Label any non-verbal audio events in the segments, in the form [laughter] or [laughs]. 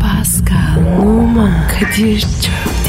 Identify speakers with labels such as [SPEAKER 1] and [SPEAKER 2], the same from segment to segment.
[SPEAKER 1] Pascal, Oman, Kadir çok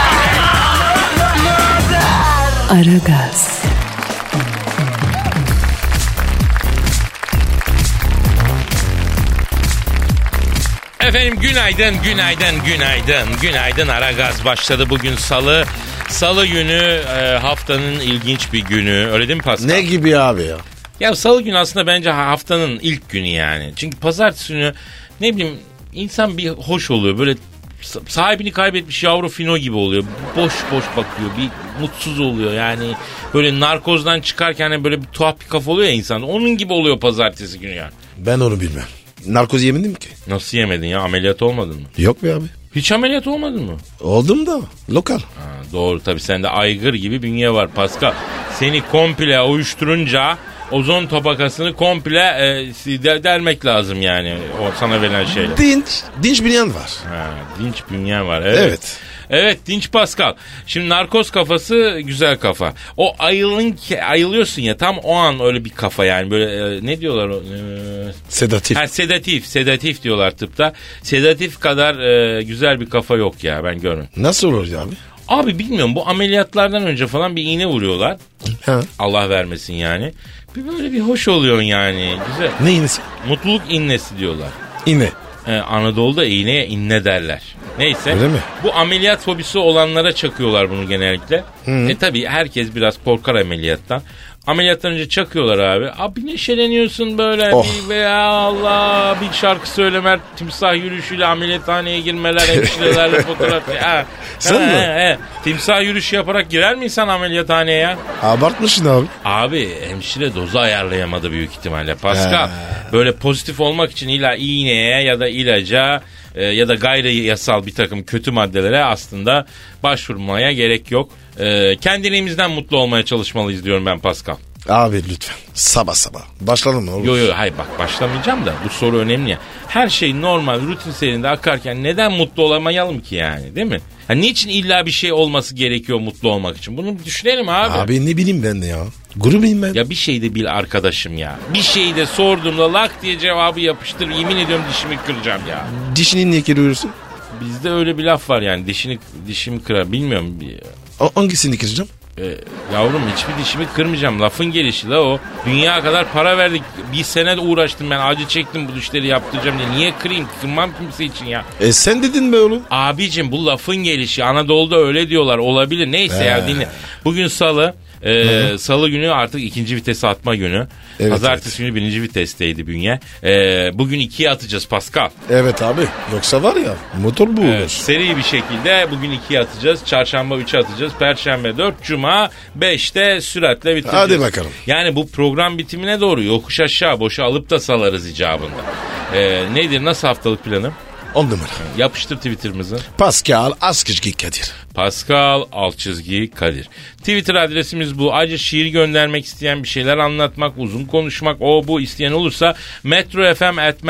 [SPEAKER 1] Aragaz,
[SPEAKER 2] Efendim günaydın, günaydın, günaydın, günaydın. Ara gaz başladı bugün salı. Salı günü e, haftanın ilginç bir günü. Öyle değil mi Pascal?
[SPEAKER 3] Ne gibi abi ya?
[SPEAKER 2] Ya salı günü aslında bence ha- haftanın ilk günü yani. Çünkü pazartesi günü ne bileyim insan bir hoş oluyor. Böyle sa- sahibini kaybetmiş yavru fino gibi oluyor. Boş boş bakıyor. Bir mutsuz oluyor yani. Böyle narkozdan çıkarken hani böyle bir tuhaf bir kafa oluyor ya insan. Onun gibi oluyor pazartesi günü yani.
[SPEAKER 3] Ben onu bilmem. Narkoz yemedim ki.
[SPEAKER 2] Nasıl yemedin ya? Ameliyat olmadın mı?
[SPEAKER 3] Yok be abi.
[SPEAKER 2] Hiç ameliyat olmadın mı?
[SPEAKER 3] Oldum da lokal.
[SPEAKER 2] Ha, doğru tabii sende aygır gibi bünye var Pascal. Seni komple uyuşturunca ozon tabakasını komple e, si- de- delmek lazım yani o sana verilen şeyle.
[SPEAKER 3] Dinç. Dinç bir yan var.
[SPEAKER 2] Ha, dinç bünye var evet.
[SPEAKER 3] Evet.
[SPEAKER 2] Evet dinç Pascal. Şimdi narkoz kafası güzel kafa. O ayılın ki ayılıyorsun ya tam o an öyle bir kafa yani böyle e, ne diyorlar o, e,
[SPEAKER 3] Sedatif.
[SPEAKER 2] Ha, sedatif, sedatif diyorlar tıpta. Sedatif kadar e, güzel bir kafa yok ya ben görün.
[SPEAKER 3] Nasıl olur ya abi?
[SPEAKER 2] Abi bilmiyorum bu ameliyatlardan önce falan bir iğne vuruyorlar.
[SPEAKER 3] Ha.
[SPEAKER 2] Allah vermesin yani. Bir böyle bir hoş oluyorsun yani. Güzel.
[SPEAKER 3] Ne inisi?
[SPEAKER 2] Mutluluk innesi diyorlar.
[SPEAKER 3] İne.
[SPEAKER 2] Ee, Anadolu'da iğneye inne derler. Neyse.
[SPEAKER 3] Öyle mi?
[SPEAKER 2] Bu ameliyat fobisi olanlara çakıyorlar bunu genellikle. E tabi herkes biraz korkar ameliyattan. Ameliyattan önce çakıyorlar abi. Abi neşeleniyorsun böyle.
[SPEAKER 3] Oh.
[SPEAKER 2] Bir, veya Allah bir şarkı söylemeler, timsah yürüyüşüyle
[SPEAKER 3] [laughs]
[SPEAKER 2] ameliyathaneye girmeler, hemşirelerle fotoğraf. Ha.
[SPEAKER 3] Sen
[SPEAKER 2] Ha,
[SPEAKER 3] mi?
[SPEAKER 2] ha, ha. Timsah yürüyüşü yaparak girer mi insan ameliyathaneye ya?
[SPEAKER 3] Abartmışsın abi.
[SPEAKER 2] Abi hemşire dozu ayarlayamadı büyük ihtimalle. Pascal böyle pozitif olmak için illa iğneye ya da ilaca e, ya da gayri yasal bir takım kötü maddelere aslında başvurmaya gerek yok. E, kendiliğimizden mutlu olmaya çalışmalıyız diyorum ben Pascal.
[SPEAKER 3] Abi lütfen. Sabah sabah. Başlayalım mı? oğlum?
[SPEAKER 2] Yo yo hayır bak başlamayacağım da bu soru önemli ya. Her şey normal rutin serinde akarken neden mutlu olamayalım ki yani değil mi? Ha, niçin illa bir şey olması gerekiyor mutlu olmak için? Bunu düşünelim
[SPEAKER 3] Abi ne bileyim ben de ya. Grubuyum ben.
[SPEAKER 2] Ya bir şey de bil arkadaşım ya. Bir şey de sorduğumda lak diye cevabı yapıştır. Yemin ediyorum dişimi kıracağım ya.
[SPEAKER 3] Dişini niye kırıyorsun?
[SPEAKER 2] Bizde öyle bir laf var yani dişini dişimi kırar bilmiyorum. Bir-
[SPEAKER 3] O- Hangisini kıracağım?
[SPEAKER 2] e, yavrum hiçbir dişimi kırmayacağım. Lafın gelişi la o. Dünya kadar para verdik. Bir sene de uğraştım ben. Acı çektim bu dişleri yaptıracağım diye. Niye kırayım? Kırmam kimse için ya.
[SPEAKER 3] E sen dedin be oğlum.
[SPEAKER 2] Abicim bu lafın gelişi Anadolu'da öyle diyorlar olabilir. Neyse ya dinle. Bugün salı. Ee, salı günü artık ikinci vitese atma günü.
[SPEAKER 3] Evet,
[SPEAKER 2] Pazartesi günü birinci vitesteydi bünye. Ee, bugün ikiye atacağız Pascal.
[SPEAKER 3] Evet abi. Yoksa var ya motor bu olur.
[SPEAKER 2] Evet, seri bir şekilde bugün ikiye atacağız. Çarşamba üçe atacağız. Perşembe dört. Cuma beşte süratle bitireceğiz.
[SPEAKER 3] Hadi bakalım.
[SPEAKER 2] Yani bu program bitimine doğru yokuş aşağı boşa alıp da salarız icabında. Ee, nedir? Nasıl haftalık planım?
[SPEAKER 3] On numara.
[SPEAKER 2] Yapıştır Twitter'ımızı.
[SPEAKER 3] Pascal Askışki Kadir.
[SPEAKER 2] Pascal alt çizgi Kadir. Twitter adresimiz bu. Ayrıca şiir göndermek isteyen bir şeyler anlatmak, uzun konuşmak o bu isteyen olursa metrofm at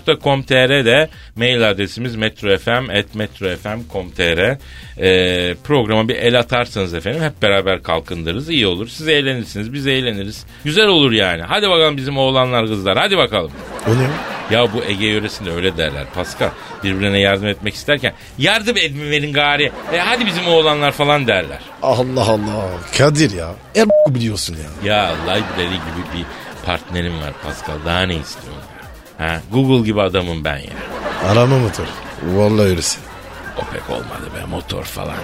[SPEAKER 2] metrofm.com.tr'de mail adresimiz metrofm at metrofm.com.tr Ee, programa bir el atarsanız efendim hep beraber kalkındırız. iyi olur. Siz eğlenirsiniz. Biz eğleniriz. Güzel olur yani. Hadi bakalım bizim oğlanlar kızlar. Hadi bakalım.
[SPEAKER 3] O ne? o?
[SPEAKER 2] Ya bu Ege yöresinde öyle derler Pascal. Birbirine yardım etmek isterken yardım edmemenin gari. E hadi bizim oğlanlar falan derler.
[SPEAKER 3] Allah Allah. Kadir ya. Er biliyorsun ya.
[SPEAKER 2] Ya library gibi bir partnerim var Pascal. Daha ne istiyorsun? ya? Ha, Google gibi adamım ben ya.
[SPEAKER 3] Arama motor. Vallahi öylesin.
[SPEAKER 2] O pek olmadı be
[SPEAKER 3] [laughs]
[SPEAKER 2] motor falan.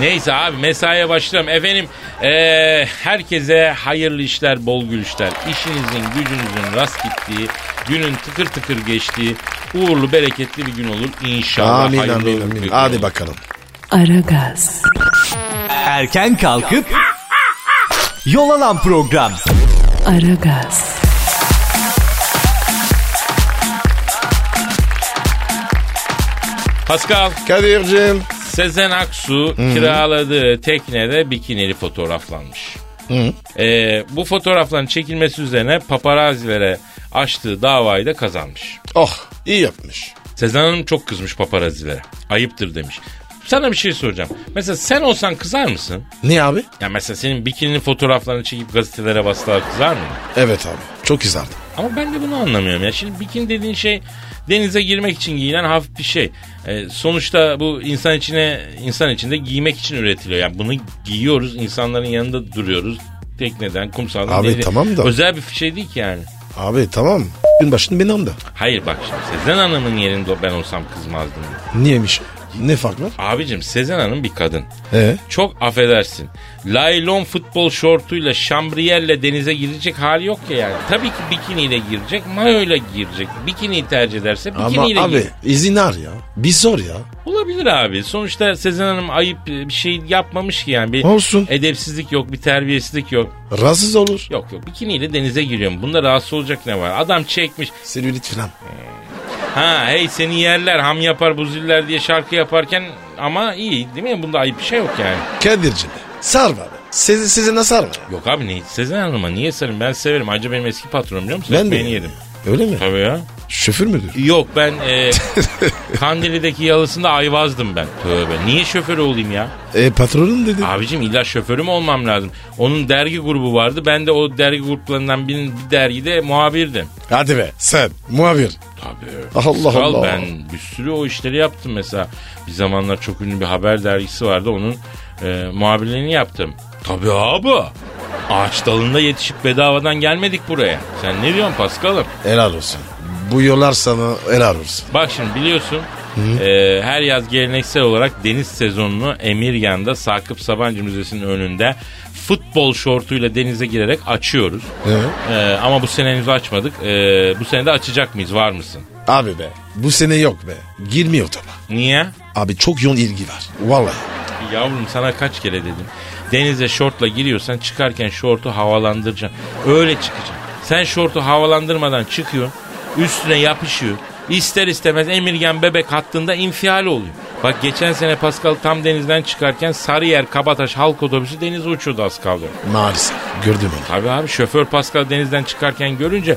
[SPEAKER 2] Neyse abi mesaiye başlayalım. Efendim eee, herkese hayırlı işler, bol gülüşler. İşinizin, gücünüzün rast gittiği, günün tıkır tıkır geçtiği, uğurlu, bereketli bir gün olur. İnşallah
[SPEAKER 3] Amin
[SPEAKER 2] hayırlı
[SPEAKER 3] amin
[SPEAKER 2] uğurlu bir
[SPEAKER 3] amin.
[SPEAKER 2] gün
[SPEAKER 3] Hadi
[SPEAKER 2] olur.
[SPEAKER 3] bakalım.
[SPEAKER 1] Aragaz,
[SPEAKER 4] Erken kalkıp yol alan program.
[SPEAKER 1] Aragaz,
[SPEAKER 2] Pascal
[SPEAKER 3] Kadir'cim.
[SPEAKER 2] Sezen Aksu kiraladığı teknede bikinili fotoğraflanmış. Ee, bu fotoğrafların çekilmesi üzerine paparazilere açtığı davayı da kazanmış.
[SPEAKER 3] Oh iyi yapmış.
[SPEAKER 2] Sezen Hanım çok kızmış paparazilere. Ayıptır demiş. Sana bir şey soracağım. Mesela sen olsan kızar mısın?
[SPEAKER 3] Ne abi?
[SPEAKER 2] Ya mesela senin bikininin fotoğraflarını çekip gazetelere bastılar kızar mı?
[SPEAKER 3] Evet abi. Çok güzeldi.
[SPEAKER 2] Ama ben de bunu anlamıyorum ya. Şimdi bikini dediğin şey denize girmek için giyilen hafif bir şey. Ee, sonuçta bu insan içine insan içinde giymek için üretiliyor. Yani bunu giyiyoruz, insanların yanında duruyoruz. Tekneden, kumsaldan.
[SPEAKER 3] Abi
[SPEAKER 2] denize-
[SPEAKER 3] tamam da-
[SPEAKER 2] Özel bir şey değil ki yani.
[SPEAKER 3] Abi tamam. Gün başını beni anla.
[SPEAKER 2] Hayır bak şimdi Sezen Hanım'ın yerinde ben olsam kızmazdım.
[SPEAKER 3] Niyemiş? Ne fark var?
[SPEAKER 2] Abicim Sezen Hanım bir kadın.
[SPEAKER 3] Ee?
[SPEAKER 2] Çok affedersin. Laylon futbol şortuyla, şambriyerle denize girecek hali yok ya yani. Tabii ki bikiniyle girecek, mayoyla girecek. Bikini tercih ederse
[SPEAKER 3] Ama
[SPEAKER 2] bikiniyle
[SPEAKER 3] abi
[SPEAKER 2] girecek.
[SPEAKER 3] izin ar ya. Bir sor ya.
[SPEAKER 2] Olabilir abi. Sonuçta Sezen Hanım ayıp e, bir şey yapmamış ki yani. Bir
[SPEAKER 3] Olsun.
[SPEAKER 2] edepsizlik yok, bir terbiyesizlik yok.
[SPEAKER 3] Rahatsız olur.
[SPEAKER 2] Yok yok bikiniyle denize giriyorum. Bunda rahatsız olacak ne var? Adam çekmiş.
[SPEAKER 3] Selülit falan.
[SPEAKER 2] Ha hey seni yerler, ham yapar, buziller diye şarkı yaparken ama iyi değil mi? Bunda ayıp bir şey yok yani.
[SPEAKER 3] Kadir'cim sar bari. Sizi, sizi nasıl sar var?
[SPEAKER 2] Yok abi ne, Sezen Hanım'a niye sarım? Ben severim. Acaba benim eski patronum biliyor musun?
[SPEAKER 3] Ben de.
[SPEAKER 2] Beni yedim.
[SPEAKER 3] Öyle mi?
[SPEAKER 2] Tabii ya.
[SPEAKER 3] Şoför müdür? [laughs]
[SPEAKER 2] Yok ben e, Kandili'deki yalısında ayvazdım ben. Tövbe. Niye şoför olayım ya?
[SPEAKER 3] E patronun dedi.
[SPEAKER 2] Abicim illa şoförüm olmam lazım. Onun dergi grubu vardı. Ben de o dergi gruplarından birinin bir dergide muhabirdim.
[SPEAKER 3] Hadi be sen muhabir.
[SPEAKER 2] Tabii.
[SPEAKER 3] Allah
[SPEAKER 2] Kral,
[SPEAKER 3] Allah.
[SPEAKER 2] Ben bir sürü o işleri yaptım mesela. Bir zamanlar çok ünlü bir haber dergisi vardı. Onun e, muhabirliğini yaptım. Tabii abi. Ağaç dalında yetişip bedavadan gelmedik buraya. Sen ne diyorsun Paskal'ım?
[SPEAKER 3] Helal olsun. Bu yollar sana helal olsun.
[SPEAKER 2] Bak şimdi biliyorsun e, her yaz geleneksel olarak deniz sezonunu Emirgan'da Sakıp Sabancı Müzesi'nin önünde futbol şortuyla denize girerek açıyoruz.
[SPEAKER 3] Hı?
[SPEAKER 2] E, ama bu sene henüz açmadık. E, bu sene de açacak mıyız? Var mısın?
[SPEAKER 3] Abi be bu sene yok be. Girmiyor tabi.
[SPEAKER 2] Niye?
[SPEAKER 3] Abi çok yoğun ilgi var. Vallahi.
[SPEAKER 2] Yavrum sana kaç kere dedim. Denize şortla giriyorsan çıkarken şortu havalandıracaksın. Öyle çıkacaksın. Sen şortu havalandırmadan çıkıyorsun. Üstüne yapışıyor. İster istemez emirgen bebek hattında infial oluyor. Bak geçen sene Pascal tam denizden çıkarken Sarıyer Kabataş halk otobüsü denize uçuyordu az kaldı.
[SPEAKER 3] Maalesef. Gördüm onu.
[SPEAKER 2] Tabii abi şoför Pascal denizden çıkarken görünce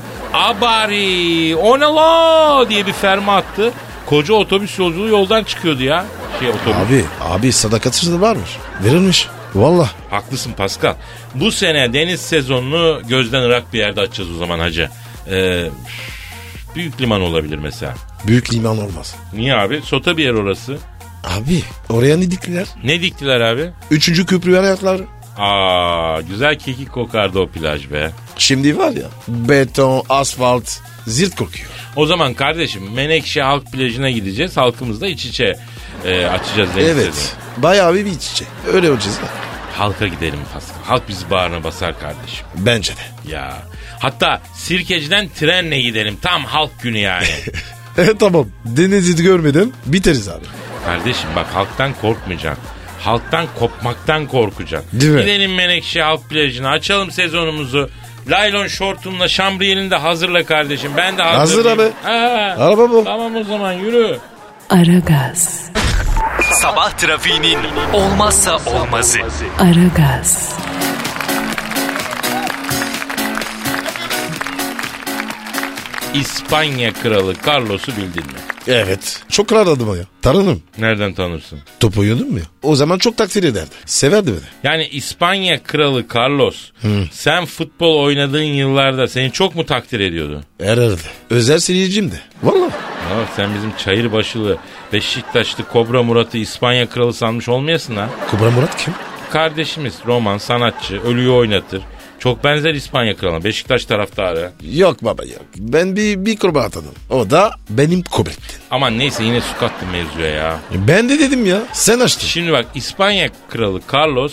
[SPEAKER 2] abari o ne la diye bir ferma attı. Koca otobüs yolculuğu yoldan çıkıyordu ya. Şey otobüs.
[SPEAKER 3] Abi abi sadakatsız varmış. Verilmiş. Vallahi.
[SPEAKER 2] Haklısın Pascal. Bu sene deniz sezonunu gözden ırak bir yerde açacağız o zaman hacı. Ee, büyük liman olabilir mesela.
[SPEAKER 3] Büyük liman olmaz.
[SPEAKER 2] Niye abi? Sota bir yer orası.
[SPEAKER 3] Abi oraya ne diktiler?
[SPEAKER 2] Ne diktiler abi?
[SPEAKER 3] Üçüncü köprü hayatlar.
[SPEAKER 2] Aa güzel kekik kokardı o plaj be.
[SPEAKER 3] Şimdi var ya beton, asfalt, zirt kokuyor.
[SPEAKER 2] O zaman kardeşim Menekşe Halk Plajı'na gideceğiz. Halkımızla iç içe e, açacağız deniz
[SPEAKER 3] Evet.
[SPEAKER 2] sezonu.
[SPEAKER 3] Bayağı bir iç içe. Öyle olacağız. da.
[SPEAKER 2] Halka gidelim Pascal. Halk bizi bağrına basar kardeşim.
[SPEAKER 3] Bence de.
[SPEAKER 2] Ya. Hatta sirkeciden trenle gidelim. Tam halk günü yani.
[SPEAKER 3] [laughs] E tamam. Denizi görmedim. Biteriz abi.
[SPEAKER 2] Kardeşim bak halktan korkmayacaksın. Halktan kopmaktan korkacaksın.
[SPEAKER 3] Değil mi?
[SPEAKER 2] Gidelim Menekşe halk plajına açalım sezonumuzu. Laylon şortumla şambriyelini de hazırla kardeşim. Ben de hazır.
[SPEAKER 3] Hazır
[SPEAKER 2] değilim.
[SPEAKER 3] abi.
[SPEAKER 2] Ha.
[SPEAKER 3] Araba bu.
[SPEAKER 2] Tamam o zaman yürü.
[SPEAKER 1] Aragaz,
[SPEAKER 4] Sabah trafiğinin olmazsa olmazı.
[SPEAKER 1] Aragaz,
[SPEAKER 2] İspanya kralı Carlos'u bildin mi?
[SPEAKER 3] Evet. Çok kral adamı ya. Tanırım.
[SPEAKER 2] Nereden tanırsın?
[SPEAKER 3] Top oynuyordum ya. O zaman çok takdir ederdi. Severdi beni.
[SPEAKER 2] Yani İspanya kralı Carlos sen futbol oynadığın yıllarda seni çok mu takdir ediyordu?
[SPEAKER 3] Ererdi. Özel seyircim de. Valla.
[SPEAKER 2] Ya sen bizim çayır başılı Beşiktaşlı Kobra Murat'ı İspanya kralı sanmış olmayasın ha.
[SPEAKER 3] Kubra Murat kim?
[SPEAKER 2] Kardeşimiz roman, sanatçı, ölüyü oynatır. Çok benzer İspanya kralına, Beşiktaş taraftarı.
[SPEAKER 3] Yok baba yok. Ben bir, bir kurban atadım. O da benim kubrettin.
[SPEAKER 2] Aman neyse yine su kattı mevzuya ya.
[SPEAKER 3] Ben de dedim ya. Sen açtın.
[SPEAKER 2] Şimdi bak İspanya kralı Carlos,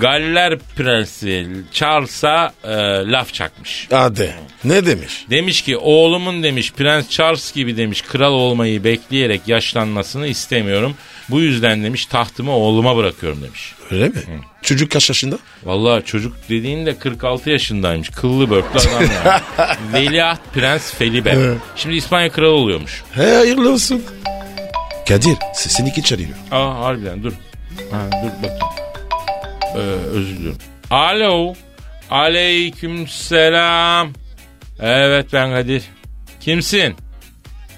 [SPEAKER 2] Galler prensi Charles'a e, laf çakmış.
[SPEAKER 3] Hadi. Ne demiş?
[SPEAKER 2] Demiş ki oğlumun demiş Prens Charles gibi demiş kral olmayı bekleyerek yaşlanmasını istemiyorum. Bu yüzden demiş tahtımı oğluma bırakıyorum demiş.
[SPEAKER 3] Öyle mi? Çocuk kaç yaşında?
[SPEAKER 2] Vallahi çocuk dediğin de 46 yaşındaymış. Kıllı börtlü adam yani. Veliaht Prens Felipe. Şimdi İspanya kralı oluyormuş.
[SPEAKER 3] He hayırlı olsun. Kadir sesin iki çarıyor.
[SPEAKER 2] Aa harbiden dur. Ha, dur bak. Ee, özür diliyorum. Alo. Aleyküm selam. Evet ben Kadir. Kimsin?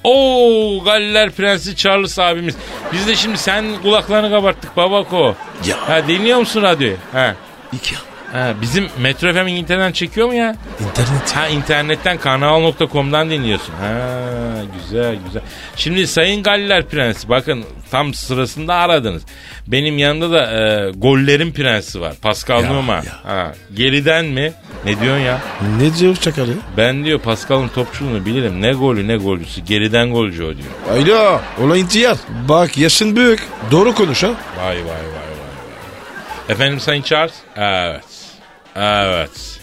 [SPEAKER 2] Oo Galler Prensi Charles abimiz. Biz de şimdi sen kulaklarını kabarttık babako.
[SPEAKER 3] Ya.
[SPEAKER 2] Ha dinliyor musun radyoyu? Ha.
[SPEAKER 3] İki ya.
[SPEAKER 2] ha bizim Metro FM İngiltere'den çekiyor mu ya?
[SPEAKER 3] İnternet.
[SPEAKER 2] Ha internetten kanal.com'dan dinliyorsun. Ha güzel güzel. Şimdi Sayın Galler Prensi bakın tam sırasında aradınız. Benim yanımda da e, gollerin prensi var. Pascal
[SPEAKER 3] Ya,
[SPEAKER 2] Numa.
[SPEAKER 3] ya.
[SPEAKER 2] Ha, geriden mi? Ne diyorsun ya?
[SPEAKER 3] Ne diyor çakal ya?
[SPEAKER 2] Ben diyor Pascal'ın topçuluğunu bilirim. Ne golü ne golcüsü. Geriden golcü o diyor.
[SPEAKER 3] Alo. Ulan intihar. Bak yaşın büyük. Doğru konuş ha.
[SPEAKER 2] Vay vay vay vay. vay. Efendim Sayın Charles? Evet. Evet.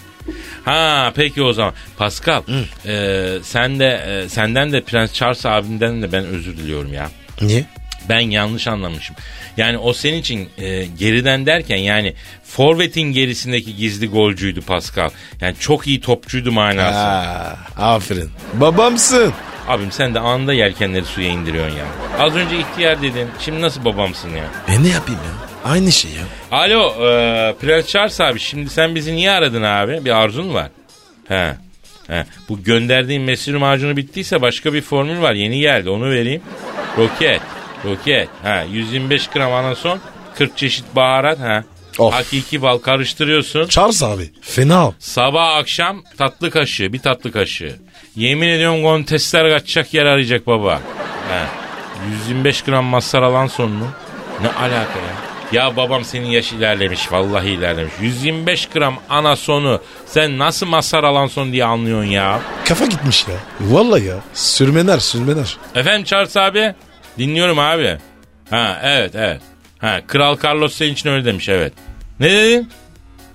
[SPEAKER 2] Ha peki o zaman. Pascal, e, sen de e, senden de Prens Charles abimden de ben özür diliyorum ya.
[SPEAKER 3] Niye?
[SPEAKER 2] Ben yanlış anlamışım. Yani o senin için e, geriden derken yani forvetin gerisindeki gizli golcüydü Pascal. Yani çok iyi topçuydu manası.
[SPEAKER 3] Aa, aferin. Babamsın.
[SPEAKER 2] Abim sen de anında yelkenleri suya indiriyorsun ya. Az önce ihtiyar dedin. Şimdi nasıl babamsın ya?
[SPEAKER 3] E ne yapayım ya? Aynı şey ya.
[SPEAKER 2] Alo e, Prens Charles abi şimdi sen bizi niye aradın abi? Bir arzun var. He. He. Bu gönderdiğin mesir macunu bittiyse başka bir formül var. Yeni geldi onu vereyim. Roket. Roket. Ha 125 gram anason. 40 çeşit baharat. Ha.
[SPEAKER 3] Of.
[SPEAKER 2] Hakiki bal karıştırıyorsun.
[SPEAKER 3] Charles abi. Fena.
[SPEAKER 2] Sabah akşam tatlı kaşığı, bir tatlı kaşığı. Yemin ediyorum kontesler kaçacak yer arayacak baba. He. 125 gram masar alan sonunu. Ne alaka ya? Ya babam senin yaş ilerlemiş, vallahi ilerlemiş. 125 gram anasonu sen nasıl masar alan son diye anlıyorsun ya?
[SPEAKER 3] Kafa gitmiş ya. Vallahi ya. Sürmener sürmener.
[SPEAKER 2] Efendim Charles abi? Dinliyorum abi. Ha evet evet. Ha Kral Carlos senin için öyle demiş evet. Ne dedin?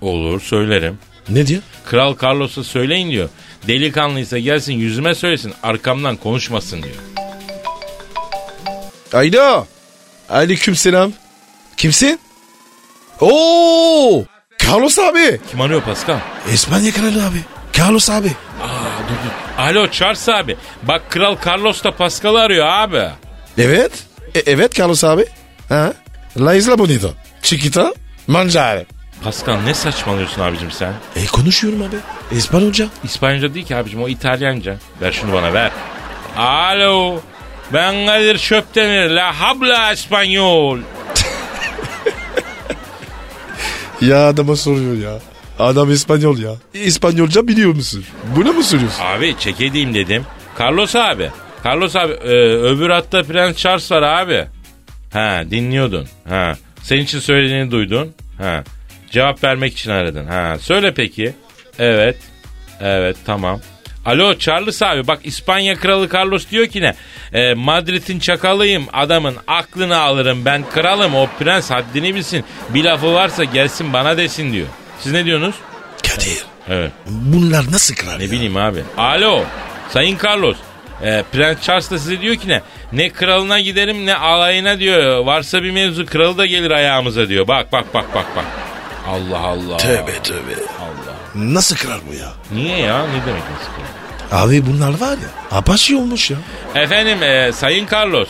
[SPEAKER 2] Olur söylerim.
[SPEAKER 3] Ne diyor?
[SPEAKER 2] Kral Carlos'a söyleyin diyor. Delikanlıysa gelsin yüzüme söylesin arkamdan konuşmasın diyor.
[SPEAKER 3] Alo. Aleyküm selam. Kimsin? Oo! Carlos abi.
[SPEAKER 2] Kim arıyor Pascal?
[SPEAKER 3] İspanya kralı abi. Carlos abi.
[SPEAKER 2] Alo Charles abi. Bak Kral Carlos da Pascal'ı arıyor abi.
[SPEAKER 3] Evet. E- evet Carlos abi. Ha? La isla bonita. Chiquita. Mangiare.
[SPEAKER 2] Pascal ne saçmalıyorsun abicim sen?
[SPEAKER 3] E konuşuyorum abi. İspanyolca.
[SPEAKER 2] İspanyolca değil ki abicim o İtalyanca. Ver şunu bana ver. Alo. Ben Kadir Çöptemir. La habla İspanyol.
[SPEAKER 3] Ya adama soruyor ya. Adam İspanyol ya. İspanyolca biliyor musun? Bunu mu soruyorsun?
[SPEAKER 2] Abi çekedeyim dedim. Carlos abi. Carlos abi e, öbür hatta Prens Charles var abi. Ha dinliyordun. Ha. Senin için söylediğini duydun. Ha. Cevap vermek için aradın. Ha. Söyle peki. Evet. Evet tamam. Alo Charles abi bak İspanya Kralı Carlos diyor ki ne? E, Madrid'in çakalıyım adamın aklını alırım ben kralım o prens haddini bilsin. Bir lafı varsa gelsin bana desin diyor. Siz ne diyorsunuz?
[SPEAKER 3] Kadir.
[SPEAKER 2] Evet.
[SPEAKER 3] Bunlar nasıl kral
[SPEAKER 2] Ne
[SPEAKER 3] ya?
[SPEAKER 2] bileyim abi. Alo. Sayın Carlos. E, Prens Charles da size diyor ki ne? Ne kralına giderim ne alayına diyor. Varsa bir mevzu kralı da gelir ayağımıza diyor. Bak bak bak bak bak. Allah Allah.
[SPEAKER 3] Tövbe tövbe.
[SPEAKER 2] Allah.
[SPEAKER 3] Nasıl kral bu ya?
[SPEAKER 2] Niye ya? Ne demek nasıl kral?
[SPEAKER 3] Abi bunlar var ya. Apache olmuş ya.
[SPEAKER 2] Efendim e, Sayın Carlos.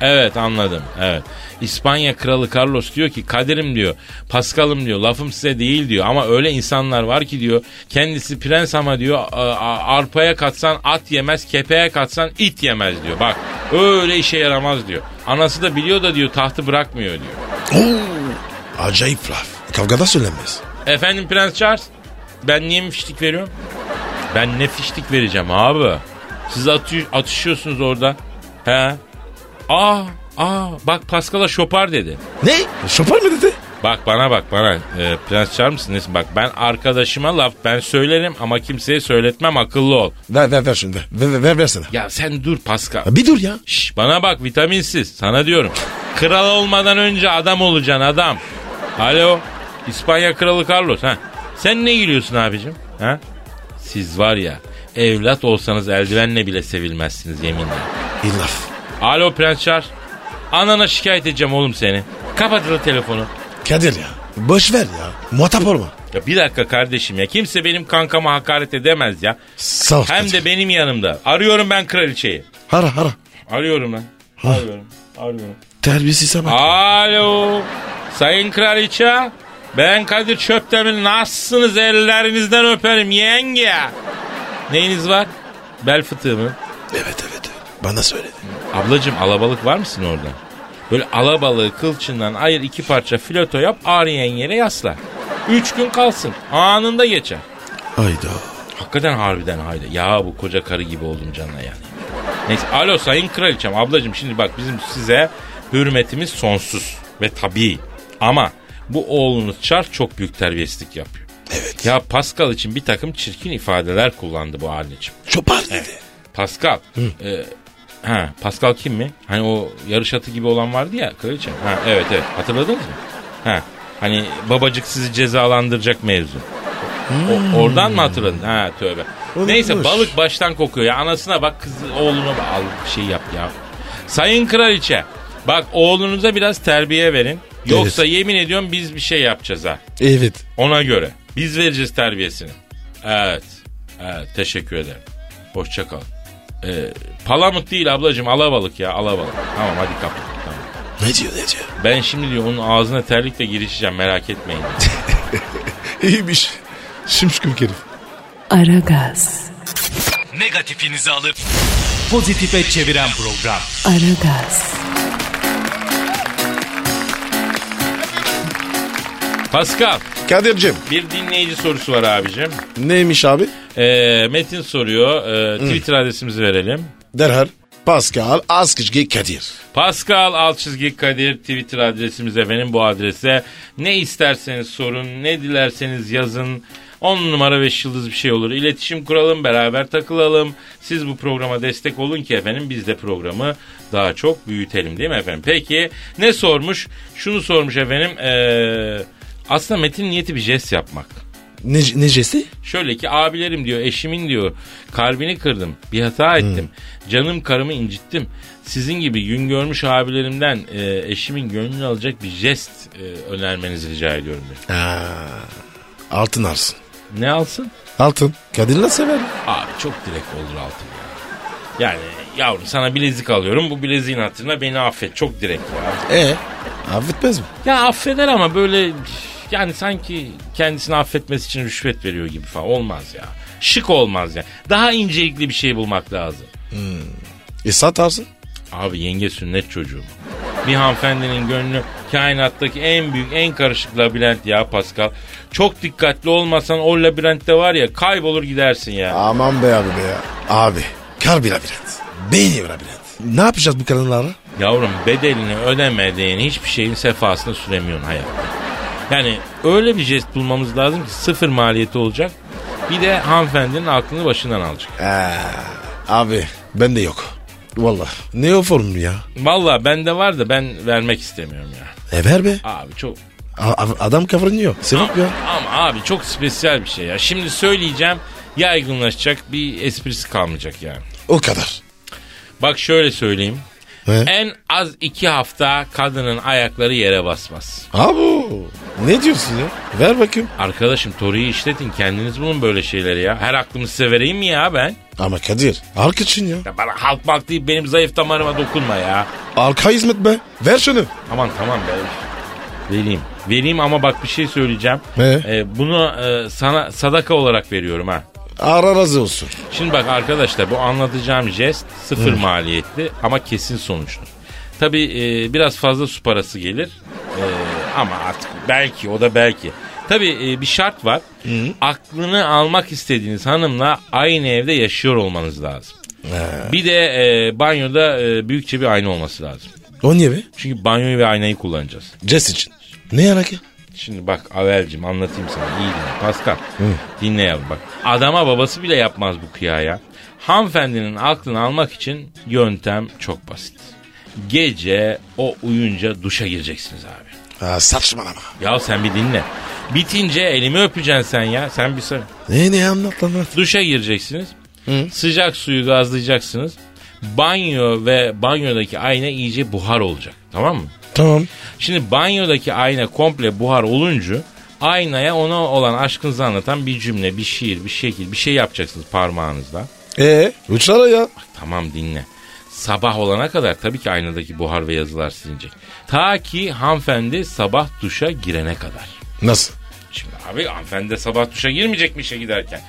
[SPEAKER 2] Evet anladım. Evet. İspanya kralı Carlos diyor ki kaderim diyor. Paskal'ım diyor. Lafım size değil diyor. Ama öyle insanlar var ki diyor. Kendisi prens ama diyor. a- a- Arpaya katsan at yemez. Kepeğe katsan it yemez diyor. Bak öyle işe yaramaz diyor. Anası da biliyor da diyor tahtı bırakmıyor diyor.
[SPEAKER 3] Oo. Acayip laf. Kavgada söylenmez.
[SPEAKER 2] Efendim Prens Charles. Ben niye mi fiştik veriyorum? Ben ne fiştik vereceğim abi? Siz atı- atışıyorsunuz orada. He? Aa, aa bak Pascal'a şopar dedi.
[SPEAKER 3] Ne? Şopar mı dedi?
[SPEAKER 2] Bak bana bak bana. Ee, Prens Charles mısın? Nesin? Bak ben arkadaşıma laf ben söylerim ama kimseye söyletmem akıllı ol.
[SPEAKER 3] Ver ver ver şimdi ver. Ver, ver, ver versene.
[SPEAKER 2] Ya sen dur Pascal.
[SPEAKER 3] Bir dur ya.
[SPEAKER 2] Şş, bana bak vitaminsiz sana diyorum. Kral olmadan önce adam olacaksın adam. Alo İspanya Kralı Carlos. Ha. Sen ne gülüyorsun abicim? Ha? Siz var ya evlat olsanız eldivenle bile sevilmezsiniz yeminle.
[SPEAKER 3] İyi laf.
[SPEAKER 2] Alo Prens Charles. Anana şikayet edeceğim oğlum seni. Kapatılı telefonu.
[SPEAKER 3] Kadir ya. Boş ver ya. Muhatap olma.
[SPEAKER 2] Ya bir dakika kardeşim ya kimse benim kankama hakaret edemez ya.
[SPEAKER 3] Sağ ol.
[SPEAKER 2] Hem
[SPEAKER 3] Kadir.
[SPEAKER 2] de benim yanımda. Arıyorum ben kraliçeyi.
[SPEAKER 3] Hara hara.
[SPEAKER 2] Arıyorum lan. Arıyorum.
[SPEAKER 5] Arıyorum.
[SPEAKER 3] Terbiyesize bak.
[SPEAKER 2] Alo. Sayın Kraliçe. Ben Kadir Çöptemir. Nasılsınız? Ellerinizden öperim yenge. Neyiniz var? Bel fıtığı mı?
[SPEAKER 3] Evet evet. Bana söyledi.
[SPEAKER 2] Ablacım alabalık var mısın orada? Böyle alabalığı kılçından ayır iki parça fileto yap ağrıyan yere yasla. Üç gün kalsın. Anında geçer.
[SPEAKER 3] Hayda.
[SPEAKER 2] Hakikaten harbiden hayda. Ya bu koca karı gibi oldum canına yani. Neyse alo sayın kraliçem ablacım şimdi bak bizim size hürmetimiz sonsuz ve tabii. Ama bu oğlunuz Çar çok büyük terbiyesizlik yapıyor.
[SPEAKER 3] Evet.
[SPEAKER 2] Ya Pascal için bir takım çirkin ifadeler kullandı bu anneciğim.
[SPEAKER 3] Çopar dedi.
[SPEAKER 2] Pascal. e, ha, Pascal kim mi? Hani o yarış atı gibi olan vardı ya kraliçem. Ha, evet evet hatırladınız mı? Ha, hani babacık sizi cezalandıracak mevzu. O- oradan mı hatırladın? Ha tövbe.
[SPEAKER 3] Olabilir.
[SPEAKER 2] Neyse balık baştan kokuyor ya. Anasına bak kız oğluna bak. Al bir şey yap ya. Sayın kraliçe bak oğlunuza biraz terbiye verin. Yoksa yemin ediyorum biz bir şey yapacağız ha.
[SPEAKER 3] Evet.
[SPEAKER 2] Ona göre. Biz vereceğiz terbiyesini. Evet. Evet teşekkür ederim. Hoşça kal. Ee, palamut değil ablacığım alabalık ya alabalık. Tamam hadi kapat. Tamam.
[SPEAKER 3] Ne diyor ne diyor?
[SPEAKER 2] Ben şimdi diyor onun ağzına terlikle girişeceğim merak etmeyin.
[SPEAKER 3] İyiymiş. Şimşküm herif.
[SPEAKER 1] Aragaz,
[SPEAKER 4] Negatifinizi alıp pozitife çeviren program.
[SPEAKER 1] Aragaz,
[SPEAKER 2] Pascal
[SPEAKER 3] Kadir'cim.
[SPEAKER 2] bir dinleyici sorusu var abicim.
[SPEAKER 3] Neymiş abi?
[SPEAKER 2] Ee, Metin soruyor. Ee, Twitter adresimizi verelim.
[SPEAKER 3] Derhal. Pascal Askışgi Kadir.
[SPEAKER 2] Pascal alt çizgi Kadir Twitter adresimiz efendim bu adrese. Ne isterseniz sorun, ne dilerseniz yazın. 10 numara 5 yıldız bir şey olur. İletişim kuralım, beraber takılalım. Siz bu programa destek olun ki efendim biz de programı daha çok büyütelim değil mi efendim? Peki ne sormuş? Şunu sormuş efendim. eee, aslında Metin niyeti bir jest yapmak.
[SPEAKER 3] Ne, necesi?
[SPEAKER 2] Şöyle ki abilerim diyor eşimin diyor kalbini kırdım bir hata ettim canım karımı incittim. Sizin gibi gün görmüş abilerimden e, eşimin gönlünü alacak bir jest e, önermenizi rica ediyorum. diyor.
[SPEAKER 3] Altın arsın.
[SPEAKER 2] Ne alsın?
[SPEAKER 3] Altın. Kadir nasıl sever?
[SPEAKER 2] Abi çok direkt olur altın ya. Yani yavrum sana bilezik alıyorum bu bileziğin hatırına beni affet çok direkt ya.
[SPEAKER 3] E affetmez mi?
[SPEAKER 2] Ya affeder ama böyle yani sanki kendisini affetmesi için rüşvet veriyor gibi falan olmaz ya. Şık olmaz ya. Daha incelikli bir şey bulmak lazım.
[SPEAKER 3] E satarsın.
[SPEAKER 2] Abi yenge sünnet çocuğu. Bir hanımefendinin gönlü kainattaki en büyük en karışık labirent ya Pascal. Çok dikkatli olmasan o labirentte var ya kaybolur gidersin ya.
[SPEAKER 3] Aman be abi be ya. Abi kar bir labirent. Beyni bir labirent. Ne yapacağız bu kadınlara?
[SPEAKER 2] Yavrum bedelini ödemediğin hiçbir şeyin sefasını süremiyorsun hayatta. Yani öyle bir jest bulmamız lazım ki sıfır maliyeti olacak. Bir de hanımefendinin aklını başından alacak.
[SPEAKER 3] Abi bende yok. Vallahi ne o form ya?
[SPEAKER 2] Valla bende var da ben vermek istemiyorum ya.
[SPEAKER 3] E ver be.
[SPEAKER 2] Abi çok
[SPEAKER 3] A- a- adam kıvranıyor. Sebep ya.
[SPEAKER 2] Ama abi çok spesiyel bir şey ya. Şimdi söyleyeceğim yaygınlaşacak bir esprisi kalmayacak yani.
[SPEAKER 3] O kadar.
[SPEAKER 2] Bak şöyle söyleyeyim.
[SPEAKER 3] He?
[SPEAKER 2] En az iki hafta kadının ayakları yere basmaz.
[SPEAKER 3] Abu. Ne diyorsun ya? Ver bakayım.
[SPEAKER 2] Arkadaşım Tori'yi işletin kendiniz bulun böyle şeyleri ya. Her aklımı size vereyim mi ya ben?
[SPEAKER 3] Ama Kadir. Arka için ya.
[SPEAKER 2] Ya bana halk malk deyip benim zayıf damarıma dokunma ya.
[SPEAKER 3] Arka hizmet be. Ver şunu.
[SPEAKER 2] Aman tamam be. Vereyim. Vereyim ama bak bir şey söyleyeceğim.
[SPEAKER 3] He?
[SPEAKER 2] Ee, bunu e, sana sadaka olarak veriyorum ha.
[SPEAKER 3] Ara razı olsun.
[SPEAKER 2] Şimdi bak arkadaşlar bu anlatacağım jest sıfır maliyetli ama kesin sonuçlu. Tabii e, biraz fazla su parası gelir E, ama artık belki o da belki. Tabii e, bir şart var. Aklını almak istediğiniz hanımla aynı evde yaşıyor olmanız lazım. Bir de e, banyoda e, büyükçe bir ayna olması lazım.
[SPEAKER 3] O niye be?
[SPEAKER 2] Çünkü banyoyu ve aynayı kullanacağız.
[SPEAKER 3] Jess için. Ne yarak ya?
[SPEAKER 2] Şimdi bak Avel'cim anlatayım sana iyi dinle. Pascal dinle yavrum bak. Adama babası bile yapmaz bu kıyaya. Hanımefendinin aklını almak için yöntem çok basit. Gece o uyunca duşa gireceksiniz abi.
[SPEAKER 3] Ha, saçmalama.
[SPEAKER 2] Ya sen bir dinle. Bitince elimi öpeceksin sen ya. Sen bir sarı.
[SPEAKER 3] Ne ne anlat lan anlat.
[SPEAKER 2] Duşa gireceksiniz. Sıcak suyu gazlayacaksınız. Banyo ve banyodaki ayna iyice buhar olacak. Tamam mı?
[SPEAKER 3] Tamam.
[SPEAKER 2] Şimdi banyodaki ayna komple buhar olunca aynaya ona olan aşkınızı anlatan bir cümle, bir şiir, bir şekil, bir şey yapacaksınız parmağınızla.
[SPEAKER 3] Ee E, uçlara ya.
[SPEAKER 2] Bak tamam dinle. Sabah olana kadar tabii ki aynadaki buhar ve yazılar silinecek. Ta ki hanımefendi sabah duşa girene kadar.
[SPEAKER 3] Nasıl?
[SPEAKER 2] Şimdi abi hanımefendi de sabah duşa girmeyecek mi işe giderken?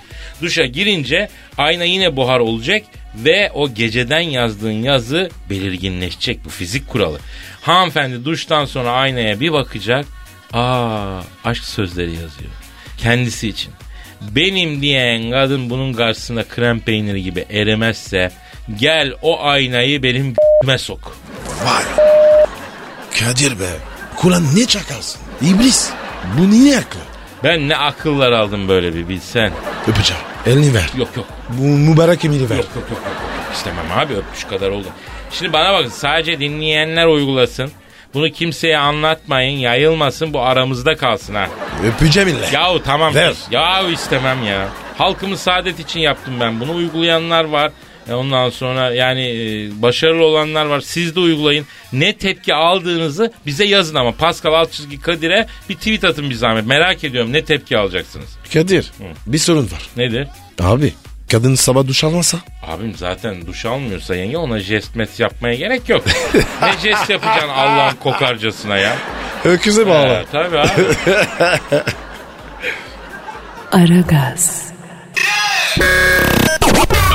[SPEAKER 2] Duşa girince ayna yine buhar olacak ve o geceden yazdığın yazı belirginleşecek. Bu fizik kuralı. Hanımefendi duştan sonra aynaya bir bakacak. Aa aşk sözleri yazıyor. Kendisi için. Benim diyen kadın bunun karşısında krem peyniri gibi erimezse gel o aynayı benim [laughs] g***me sok.
[SPEAKER 3] Vay. Kadir be. Kur'an ne çakalsın? İblis. Bu niye aklı?
[SPEAKER 2] Ben ne akıllar aldım böyle bir bilsen.
[SPEAKER 3] Öpeceğim. Elini ver.
[SPEAKER 2] Yok yok
[SPEAKER 3] Bu mübarek emini ver.
[SPEAKER 2] Yok yok yok. yok. İstemem abi öpmüş kadar oldu. Şimdi bana bakın sadece dinleyenler uygulasın. Bunu kimseye anlatmayın, yayılmasın, bu aramızda kalsın ha.
[SPEAKER 3] Öpeceğim illa.
[SPEAKER 2] Yahu tamam.
[SPEAKER 3] Ver.
[SPEAKER 2] Yahu istemem ya. Halkımız saadet için yaptım ben. Bunu uygulayanlar var. E Ondan sonra yani e, başarılı olanlar var. Siz de uygulayın. Ne tepki aldığınızı bize yazın ama. Pascal alt çizgi Kadir'e bir tweet atın bir zahmet. Merak ediyorum ne tepki alacaksınız.
[SPEAKER 3] Kadir bir sorun var.
[SPEAKER 2] Nedir?
[SPEAKER 3] Abi kadın sabah duş almasa?
[SPEAKER 2] Abim zaten duş almıyorsa yenge ona jest met yapmaya gerek yok. ne jest yapacaksın Allah'ın kokarcasına ya.
[SPEAKER 3] Öküze
[SPEAKER 2] Ee, tabii abi.
[SPEAKER 1] Aragaz,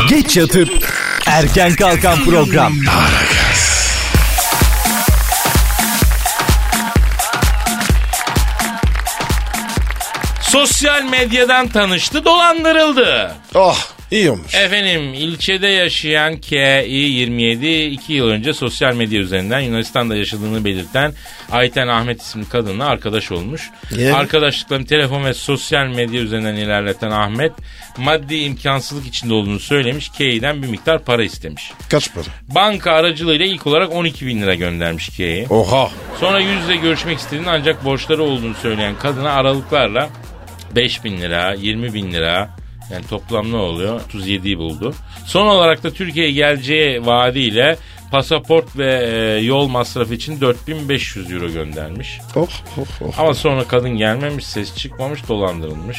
[SPEAKER 4] Geç yatıp erken kalkan program.
[SPEAKER 2] Sosyal medyadan tanıştı dolandırıldı.
[SPEAKER 3] Oh iyi olmuş.
[SPEAKER 2] Efendim ilçede yaşayan KI27 2 yıl önce sosyal medya üzerinden Yunanistan'da yaşadığını belirten Ayten Ahmet isimli kadınla arkadaş olmuş.
[SPEAKER 3] Yani?
[SPEAKER 2] Arkadaşlıklarını telefon ve sosyal medya üzerinden ilerleten Ahmet maddi imkansızlık içinde olduğunu söylemiş. KI'den bir miktar para istemiş.
[SPEAKER 3] Kaç para?
[SPEAKER 2] Banka aracılığıyla ilk olarak 12 bin lira göndermiş Kiye'ye.
[SPEAKER 3] Oha.
[SPEAKER 2] Sonra yüzle görüşmek istediğini ancak borçları olduğunu söyleyen kadına aralıklarla 5 bin lira, 20 bin lira yani toplam ne oluyor? 37'yi buldu. Son olarak da Türkiye'ye geleceği vaadiyle pasaport ve e, yol masrafı için 4500 euro göndermiş.
[SPEAKER 3] Oh oh oh.
[SPEAKER 2] Ama sonra kadın gelmemiş, ses çıkmamış, dolandırılmış.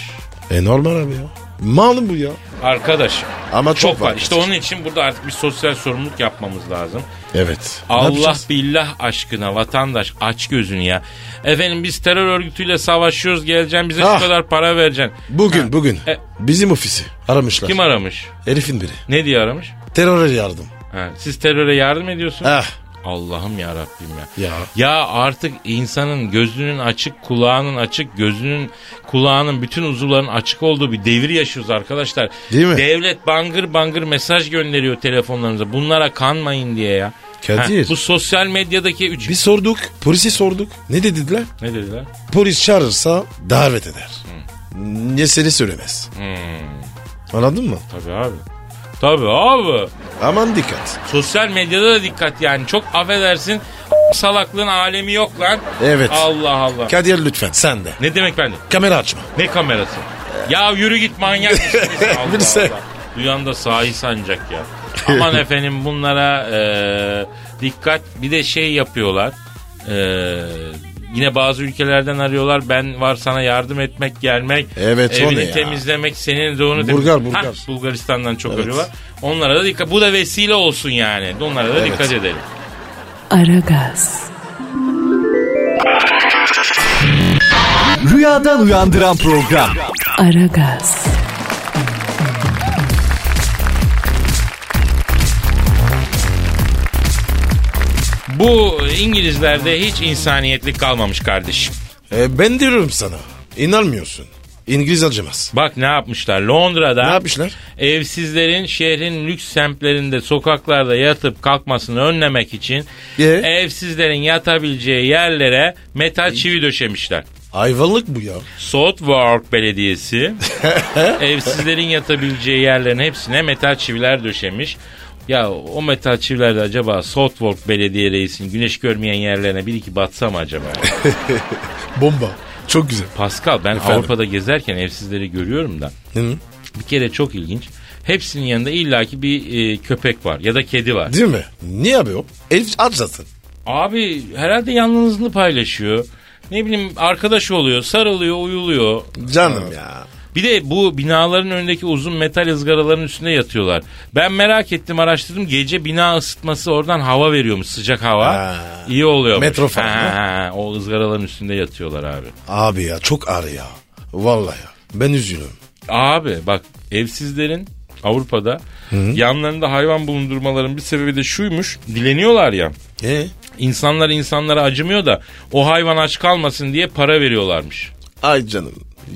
[SPEAKER 3] E normal abi ya. Malum bu ya.
[SPEAKER 2] Arkadaşım
[SPEAKER 3] Ama
[SPEAKER 2] çok,
[SPEAKER 3] çok
[SPEAKER 2] var.
[SPEAKER 3] var.
[SPEAKER 2] İşte onun için burada artık bir sosyal sorumluluk yapmamız lazım.
[SPEAKER 3] Evet. Ne
[SPEAKER 2] Allah
[SPEAKER 3] yapacağız?
[SPEAKER 2] billah aşkına vatandaş aç gözünü ya. Efendim biz terör örgütüyle savaşıyoruz geleceksin bize
[SPEAKER 3] Ah.
[SPEAKER 2] şu kadar para vereceksin.
[SPEAKER 3] Bugün bugün
[SPEAKER 2] E-
[SPEAKER 3] bizim ofisi aramışlar.
[SPEAKER 2] Kim aramış?
[SPEAKER 3] Herifin biri.
[SPEAKER 2] Ne diye aramış?
[SPEAKER 3] Teröre yardım.
[SPEAKER 2] Ha, siz teröre yardım ediyorsunuz.
[SPEAKER 3] Ah.
[SPEAKER 2] Allah'ım ya Rabbim ya.
[SPEAKER 3] Ya.
[SPEAKER 2] artık insanın gözünün açık, kulağının açık, gözünün, kulağının bütün uzuvların açık olduğu bir devir yaşıyoruz arkadaşlar.
[SPEAKER 3] Değil mi?
[SPEAKER 2] Devlet bangır bangır mesaj gönderiyor telefonlarınıza. Bunlara kanmayın diye ya.
[SPEAKER 3] Kadir.
[SPEAKER 2] Ha, bu sosyal medyadaki üç...
[SPEAKER 3] Bir sorduk. Polisi sorduk. Ne dediler?
[SPEAKER 2] Ne dediler?
[SPEAKER 3] Polis çağırırsa davet eder.
[SPEAKER 2] Hmm.
[SPEAKER 3] Ne seni söylemez. Anladın mı?
[SPEAKER 2] Tabii abi. Tabii abi.
[SPEAKER 3] Aman dikkat.
[SPEAKER 2] Sosyal medyada da dikkat yani. Çok affedersin salaklığın alemi yok lan.
[SPEAKER 3] Evet.
[SPEAKER 2] Allah Allah.
[SPEAKER 3] Kadir lütfen sen de.
[SPEAKER 2] ne demek ben de?
[SPEAKER 3] Kamera açma.
[SPEAKER 2] Ne kamerası? Ya yürü git
[SPEAKER 3] [laughs]
[SPEAKER 2] manyak mısın sen? Allah
[SPEAKER 3] Bilse.
[SPEAKER 2] Allah. Duyan da sahi sanacak ya.
[SPEAKER 3] [laughs]
[SPEAKER 2] Aman efendim bunlara e, dikkat. Bir de şey yapıyorlar. E, yine bazı ülkelerden arıyorlar. Ben var sana yardım etmek gelmek.
[SPEAKER 3] Evet, o
[SPEAKER 2] evini
[SPEAKER 3] ne ya?
[SPEAKER 2] temizlemek senin doğunu
[SPEAKER 3] Bulgar,
[SPEAKER 2] temizlemek.
[SPEAKER 3] Bulgar.
[SPEAKER 2] Hah, Bulgaristan'dan çok
[SPEAKER 3] Evet.
[SPEAKER 2] arıyorlar. Onlara da dikkat. Bu da vesile olsun yani. Onlara da
[SPEAKER 3] Evet.
[SPEAKER 2] dikkat edelim.
[SPEAKER 1] Aragaz,
[SPEAKER 4] Rüyadan uyandıran program.
[SPEAKER 1] Aragaz,
[SPEAKER 2] Bu İngilizlerde hiç insaniyetlik kalmamış kardeşim.
[SPEAKER 3] E, ben diyorum sana. İnanmıyorsun. İngiliz acımaz.
[SPEAKER 2] Bak ne yapmışlar. Londra'da
[SPEAKER 3] Ne yapmışlar?
[SPEAKER 2] Evsizlerin şehrin lüks semtlerinde sokaklarda yatıp kalkmasını önlemek için
[SPEAKER 3] Ee?
[SPEAKER 2] evsizlerin yatabileceği yerlere metal çivi döşemişler.
[SPEAKER 3] Hayvanlık bu ya. [laughs]
[SPEAKER 2] Southwark Belediyesi evsizlerin yatabileceği yerlerin hepsine metal çiviler döşemiş. Ya o metal çiviler de acaba Southwark Belediye Reisi'nin güneş görmeyen yerlerine bir iki batsa
[SPEAKER 3] [laughs]
[SPEAKER 2] mı acaba?
[SPEAKER 3] Bomba. Çok güzel.
[SPEAKER 2] Pascal ben
[SPEAKER 3] Efendim?
[SPEAKER 2] Avrupa'da gezerken evsizleri görüyorum da
[SPEAKER 3] Hı?
[SPEAKER 2] bir kere çok ilginç. Hepsinin yanında illaki bir e, köpek var ya da kedi var.
[SPEAKER 3] Değil mi? Niye abi o? Elif acasın.
[SPEAKER 2] Abi herhalde yalnızlığını paylaşıyor. Ne bileyim arkadaş oluyor, sarılıyor, uyuluyor.
[SPEAKER 3] Canım ya.
[SPEAKER 2] Bir de bu binaların önündeki uzun metal ızgaraların üstünde yatıyorlar. Ben merak ettim araştırdım. Gece bina ısıtması oradan hava veriyormuş sıcak hava.
[SPEAKER 3] Ha.
[SPEAKER 2] İyi oluyor.
[SPEAKER 3] Metro falan,
[SPEAKER 2] O ızgaraların üstünde yatıyorlar abi.
[SPEAKER 3] Abi ya çok ağır ya. Vallahi ya. Ben üzülüyorum.
[SPEAKER 2] Abi bak evsizlerin Avrupa'da yanlarında hayvan bulundurmaların bir sebebi de şuymuş. Dileniyorlar ya.
[SPEAKER 3] E?
[SPEAKER 2] İnsanlar insanlara acımıyor da o hayvan aç kalmasın diye para veriyorlarmış.
[SPEAKER 3] Ay canım.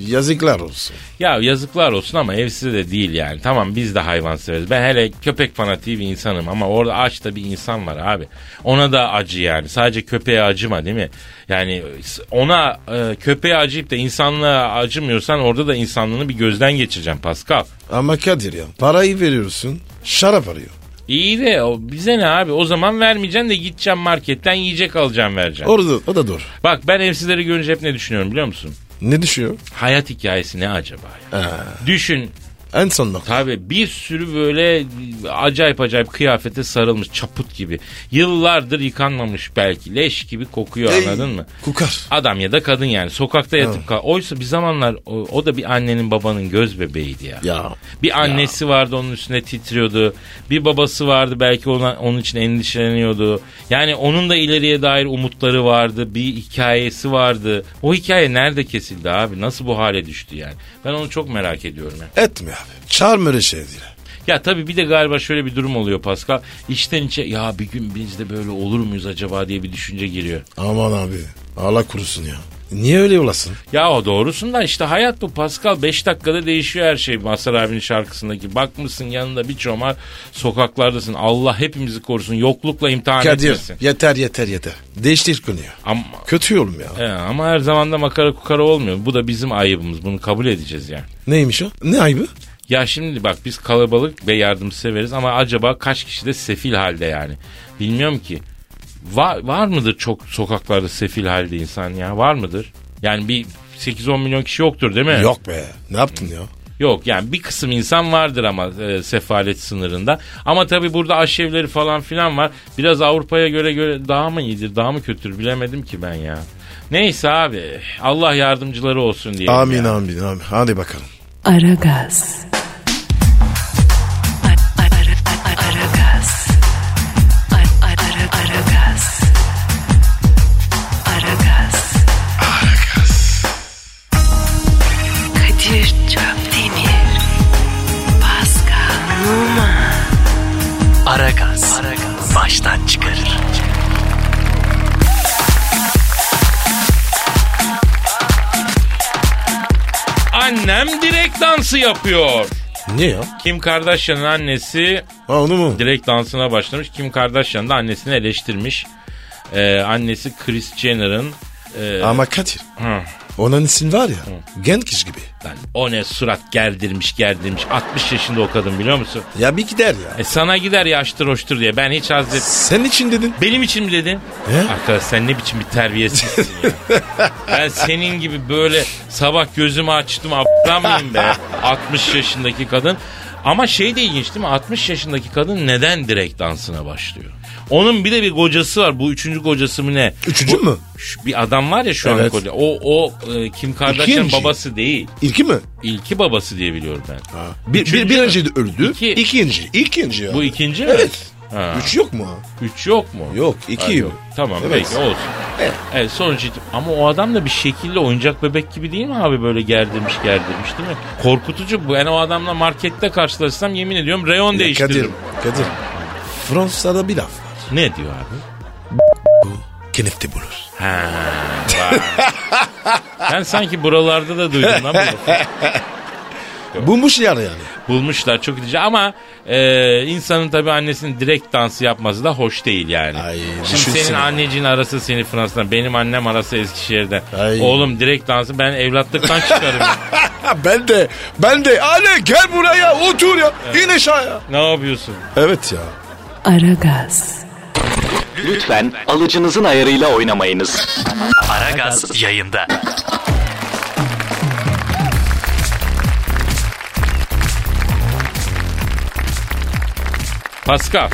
[SPEAKER 3] Yazıklar olsun.
[SPEAKER 2] Ya yazıklar olsun ama evsiz de değil yani. Tamam biz de hayvan severiz. Ben hele köpek fanatiği bir insanım ama orada aç da bir insan var abi. Ona da acı yani. Sadece köpeğe acıma değil mi? Yani ona e, köpeğe acıyıp da insanlığa acımıyorsan orada da insanlığını bir gözden geçireceğim Pascal.
[SPEAKER 3] Ama Kadir ya parayı veriyorsun. Şarap arıyor.
[SPEAKER 2] İyi de o bize ne abi? O zaman vermeyeceksin de gideceğim marketten yiyecek alacağım vereceğim.
[SPEAKER 3] Orada o da doğru.
[SPEAKER 2] Bak ben evsizleri görünce hep ne düşünüyorum biliyor musun?
[SPEAKER 3] Ne düşüyor?
[SPEAKER 2] Hayat hikayesi ne acaba? ya? Düşün
[SPEAKER 3] En son nokta.
[SPEAKER 2] Tabii bir sürü böyle acayip acayip kıyafete sarılmış çaput gibi. Yıllardır yıkanmamış belki leş gibi kokuyor
[SPEAKER 3] Ey,
[SPEAKER 2] anladın mı?
[SPEAKER 3] Kukar.
[SPEAKER 2] Adam ya da kadın yani sokakta yatıp kal. Oysa bir zamanlar o, o da bir annenin babanın göz bebeğiydi ya.
[SPEAKER 3] Ya.
[SPEAKER 2] Bir annesi vardı onun üstüne titriyordu. Bir babası vardı belki ona, onun için endişeleniyordu. Yani onun da ileriye dair umutları vardı. Bir hikayesi vardı. O hikaye nerede kesildi abi? Nasıl bu hale düştü yani? Ben onu çok merak ediyorum. ya.
[SPEAKER 3] Etme abi. Çağırma öyle şey değil.
[SPEAKER 2] Ya tabii bir de galiba şöyle bir durum oluyor Pascal. İçten içe ya bir gün biz de böyle olur muyuz acaba diye bir düşünce giriyor.
[SPEAKER 3] Aman abi. Allah kurusun ya. Niye öyle olasın?
[SPEAKER 2] Ya o doğrusun da işte hayat bu Pascal. 5 dakikada değişiyor her şey Mazhar abinin şarkısındaki. Bakmışsın yanında bir çomar sokaklardasın. Allah hepimizi korusun. Yoklukla imtihan etmesin.
[SPEAKER 3] Kadir yeter yeter yeter. Değiştir konuyu.
[SPEAKER 2] Ama,
[SPEAKER 3] Kötü yorum ya.
[SPEAKER 2] e, ama her zaman da makara kukara olmuyor. Bu da bizim ayıbımız. Bunu kabul edeceğiz yani.
[SPEAKER 3] Neymiş o? Ne ayıbı?
[SPEAKER 2] Ya şimdi bak biz kalabalık ve yardımseveriz ama acaba kaç kişi de sefil halde yani? Bilmiyorum ki. Var, var mıdır çok sokaklarda sefil halde insan ya? Var mıdır? Yani bir 8-10 milyon kişi yoktur değil mi?
[SPEAKER 3] Yok be. Ne yaptın ya?
[SPEAKER 2] Yok yani bir kısım insan vardır ama e, sefalet sınırında. Ama tabii burada aşevleri falan filan var. Biraz Avrupa'ya göre göre daha mı iyidir daha mı kötüdür bilemedim ki ben ya. Neyse abi Allah yardımcıları olsun diyelim.
[SPEAKER 3] Amin
[SPEAKER 2] ya.
[SPEAKER 3] amin amin. Hadi bakalım.
[SPEAKER 1] Aragaz. Aragaz. Aragaz. Aragaz. Kadir Çöptemir. Pascal Numa.
[SPEAKER 4] Aragaz. Baştan çıkarır.
[SPEAKER 2] Annem direkt dansı yapıyor.
[SPEAKER 3] Niye ya?
[SPEAKER 2] Kim Kardashian'ın annesi
[SPEAKER 3] Ha onu mu?
[SPEAKER 2] direkt dansına başlamış. Kim Kardashian da annesini eleştirmiş. Ee, annesi Kris Jenner'ın e,
[SPEAKER 3] Ama Kadir.
[SPEAKER 2] hı,
[SPEAKER 3] Onun isim var ya. Genç kişi gibi.
[SPEAKER 2] lan o ne surat gerdirmiş gerdirmiş. 60 yaşında o kadın biliyor musun?
[SPEAKER 3] Ya bir gider ya.
[SPEAKER 2] E sana gider yaştır hoştur diye. Ben hiç hazret...
[SPEAKER 3] Sen için dedin.
[SPEAKER 2] Benim için mi dedin?
[SPEAKER 3] He?
[SPEAKER 2] Arkadaş sen ne biçim bir terbiyesizsin ya. ben senin gibi böyle sabah gözümü açtım aptal mıyım be? 60 yaşındaki kadın. Ama şey de ilginç değil mi? 60 yaşındaki kadın neden direkt dansına başlıyor? Onun bir de bir kocası var. Bu üçüncü kocası mı ne?
[SPEAKER 3] Üçüncü mü?
[SPEAKER 2] Şu bir adam var ya şu an
[SPEAKER 3] Evet.
[SPEAKER 2] koca. O, o e, Kim Kardashian
[SPEAKER 3] İkinci.
[SPEAKER 2] babası değil.
[SPEAKER 3] İlki mi?
[SPEAKER 2] İlki babası diye biliyorum ben.
[SPEAKER 3] Bir,
[SPEAKER 2] Üçüncü
[SPEAKER 3] bir,
[SPEAKER 2] mü?
[SPEAKER 3] birinci de öldü.
[SPEAKER 2] İki.
[SPEAKER 3] İkinci. İkinci ya.
[SPEAKER 2] Bu ikinci mi?
[SPEAKER 3] Evet.
[SPEAKER 2] Ha.
[SPEAKER 3] Üç yok mu?
[SPEAKER 2] Üç yok mu?
[SPEAKER 3] Yok, iki
[SPEAKER 2] Ha,
[SPEAKER 3] yok.
[SPEAKER 2] Tamam
[SPEAKER 3] Evet.
[SPEAKER 2] peki olsun. Evet.
[SPEAKER 3] Evet.
[SPEAKER 2] sonuç itib- ama o adam da bir şekilde oyuncak bebek gibi değil mi abi böyle gerdirmiş gerdirmiş değil mi? Korkutucu bu. Yani o adamla markette karşılaşsam yemin ediyorum reyon
[SPEAKER 3] Ya Kadir.
[SPEAKER 2] değiştiririm.
[SPEAKER 3] Kadir. Fransa'da bir laf var.
[SPEAKER 2] Ne diyor abi?
[SPEAKER 3] Kenefte bulur.
[SPEAKER 2] Ha, vay. ben sanki buralarda da duydum lan
[SPEAKER 3] [laughs]
[SPEAKER 2] bunu.
[SPEAKER 3] Bulmuş yani
[SPEAKER 2] [laughs]
[SPEAKER 3] yani.
[SPEAKER 2] Bulmuşlar çok itici ama e, insanın tabii annesinin direkt dansı yapması da hoş değil yani.
[SPEAKER 3] Ay,
[SPEAKER 2] Şimdi senin
[SPEAKER 3] düşünsene.
[SPEAKER 2] anneciğin arası seni Fransa'dan, benim annem arası Eskişehir'den.
[SPEAKER 3] Ay.
[SPEAKER 2] Oğlum direkt dansı ben
[SPEAKER 3] [laughs]
[SPEAKER 2] evlatlıktan çıkarım.
[SPEAKER 3] Ha, ben de ben de Ale gel buraya otur ya. in aşağıya.
[SPEAKER 2] ne yapıyorsun?
[SPEAKER 3] Evet ya.
[SPEAKER 1] Aragaz.
[SPEAKER 4] Lütfen alıcınızın ayarıyla oynamayınız. Aragaz yayında.
[SPEAKER 2] Pascal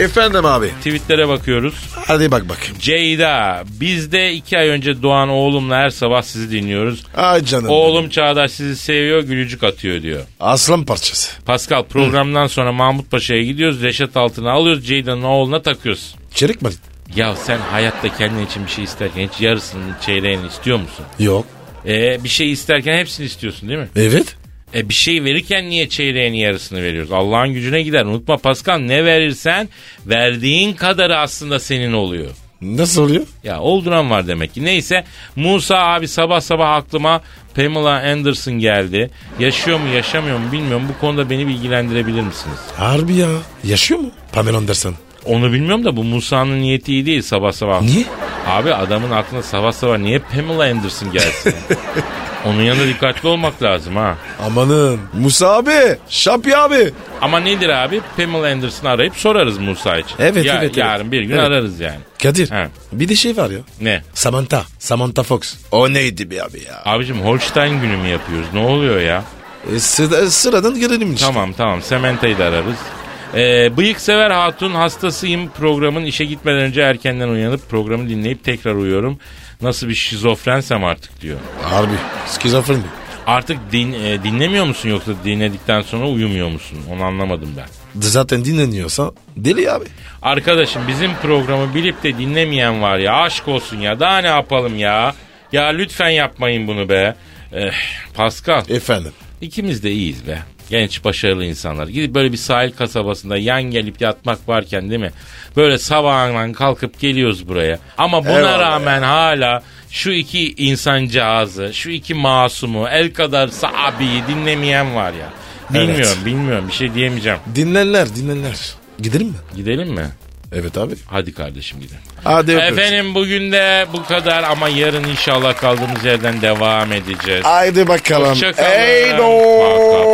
[SPEAKER 3] Efendim abi. E-
[SPEAKER 2] tweetlere bakıyoruz.
[SPEAKER 3] Hadi bak bakayım.
[SPEAKER 2] Ceyda biz de iki ay önce doğan oğlumla her sabah sizi dinliyoruz.
[SPEAKER 3] Ay canım.
[SPEAKER 2] Oğlum Çağdaş sizi seviyor gülücük atıyor diyor.
[SPEAKER 3] Aslan parçası.
[SPEAKER 2] Pascal programdan sonra Mahmut Paşa'ya gidiyoruz. Reşat altına alıyoruz. Ceyda'nın oğluna takıyoruz.
[SPEAKER 3] Çelik mi?
[SPEAKER 2] Ya sen hayatta kendin için bir şey isterken hiç yarısını çeyreğini istiyor musun?
[SPEAKER 3] Yok.
[SPEAKER 2] E, bir şey isterken hepsini istiyorsun değil mi?
[SPEAKER 3] Evet.
[SPEAKER 2] E bir şey verirken niye çeyreğin yarısını veriyoruz? Allah'ın gücüne gider. Unutma Pascal ne verirsen verdiğin kadarı aslında senin oluyor.
[SPEAKER 3] Nasıl oluyor?
[SPEAKER 2] Ya olduran var demek ki. Neyse Musa abi sabah sabah aklıma Pamela Anderson geldi. Yaşıyor mu yaşamıyor mu bilmiyorum. Bu konuda beni bilgilendirebilir misiniz?
[SPEAKER 3] Harbi ya. Yaşıyor mu? Pamela Anderson.
[SPEAKER 2] Onu bilmiyorum da bu Musa'nın niyeti iyi değil sabah sabah.
[SPEAKER 3] Niye?
[SPEAKER 2] Abi adamın aklına sabah sabah niye Pamela
[SPEAKER 3] [laughs]
[SPEAKER 2] Anderson gelsin? Onun yanında dikkatli olmak lazım ha.
[SPEAKER 3] Amanın. Musa abi. Şapi abi.
[SPEAKER 2] Ama nedir abi? Pamela Anderson'ı arayıp sorarız Musa için.
[SPEAKER 3] Evet,
[SPEAKER 2] Ya-
[SPEAKER 3] evet,
[SPEAKER 2] Yarın
[SPEAKER 3] evet.
[SPEAKER 2] bir gün
[SPEAKER 3] Evet.
[SPEAKER 2] ararız yani.
[SPEAKER 3] Kadir.
[SPEAKER 2] He.
[SPEAKER 3] Bir de şey var ya.
[SPEAKER 2] Ne?
[SPEAKER 3] Samantha. Samantha Fox. O neydi be abi ya?
[SPEAKER 2] Abicim Holstein günü mü yapıyoruz? Ne oluyor ya?
[SPEAKER 3] E, sıra- sıradan gelelim işte.
[SPEAKER 2] Tamam tamam Sementa'yı da ararız. Ee, bıyık sever hatun hastasıyım programın işe gitmeden önce erkenden uyanıp programı dinleyip tekrar uyuyorum. Nasıl bir şizofrensem artık diyor.
[SPEAKER 3] Harbi. Skizofren mi?
[SPEAKER 2] Artık din, e, dinlemiyor musun yoksa dinledikten sonra uyumuyor musun? Onu anlamadım ben.
[SPEAKER 3] Zaten dinleniyorsa deli abi.
[SPEAKER 2] Arkadaşım bizim programı bilip de dinlemeyen var ya aşk olsun ya daha ne yapalım ya. Ya lütfen yapmayın bunu be. Eh, Pascal
[SPEAKER 3] Efendim.
[SPEAKER 2] ikimiz de iyiyiz be. Genç başarılı insanlar. Gidip böyle bir sahil kasabasında yan gelip yatmak varken değil mi? Böyle sabahından kalkıp geliyoruz buraya. Ama buna
[SPEAKER 3] Eyvallah
[SPEAKER 2] rağmen hala şu iki insancağızı, şu iki masumu, el kadar sahabeyi dinlemeyen var ya.
[SPEAKER 3] Evet.
[SPEAKER 2] Bilmiyorum, bilmiyorum. Bir şey diyemeyeceğim.
[SPEAKER 3] Dinlenler dinlenler. Gidelim mi?
[SPEAKER 2] Gidelim mi?
[SPEAKER 3] Evet abi.
[SPEAKER 2] Hadi kardeşim gidelim.
[SPEAKER 3] Hadi öpüyoruz.
[SPEAKER 2] Efendim bugün de bu kadar ama yarın inşallah kaldığımız yerden devam edeceğiz.
[SPEAKER 3] Haydi bakalım.
[SPEAKER 2] Hoşçakalın.
[SPEAKER 3] Eydo.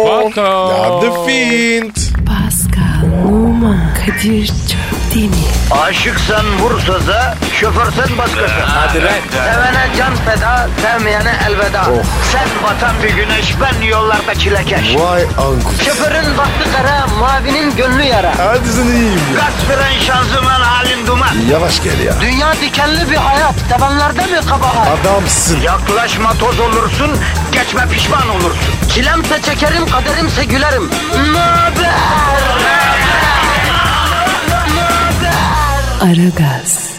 [SPEAKER 2] Paka, paka.
[SPEAKER 3] Ya the Fiend.
[SPEAKER 1] Pascal, Oman, Kadir çok değil mi?
[SPEAKER 6] Aşıksan vursa da, şoförsen başkasın. Hadi
[SPEAKER 3] lan.
[SPEAKER 6] Sevene can feda, sevmeyene elveda. Sen batan bir güneş, ben yollarda çilekeş.
[SPEAKER 3] Vay anku.
[SPEAKER 6] Şoförün baktı kara, mavinin gönlü yara.
[SPEAKER 3] Hadi sen iyiyim ya.
[SPEAKER 6] Kasperen şanzıman halin duman.
[SPEAKER 3] Yavaş gel ya.
[SPEAKER 6] Dünya dikenli bir hayat, sevenlerde mi kabahar?
[SPEAKER 3] Adamsın.
[SPEAKER 6] Yaklaşma toz olursun, geçme pişman olursun. Çilemse çekerim, kaderimse gülerim. Möber!
[SPEAKER 1] Aragaz.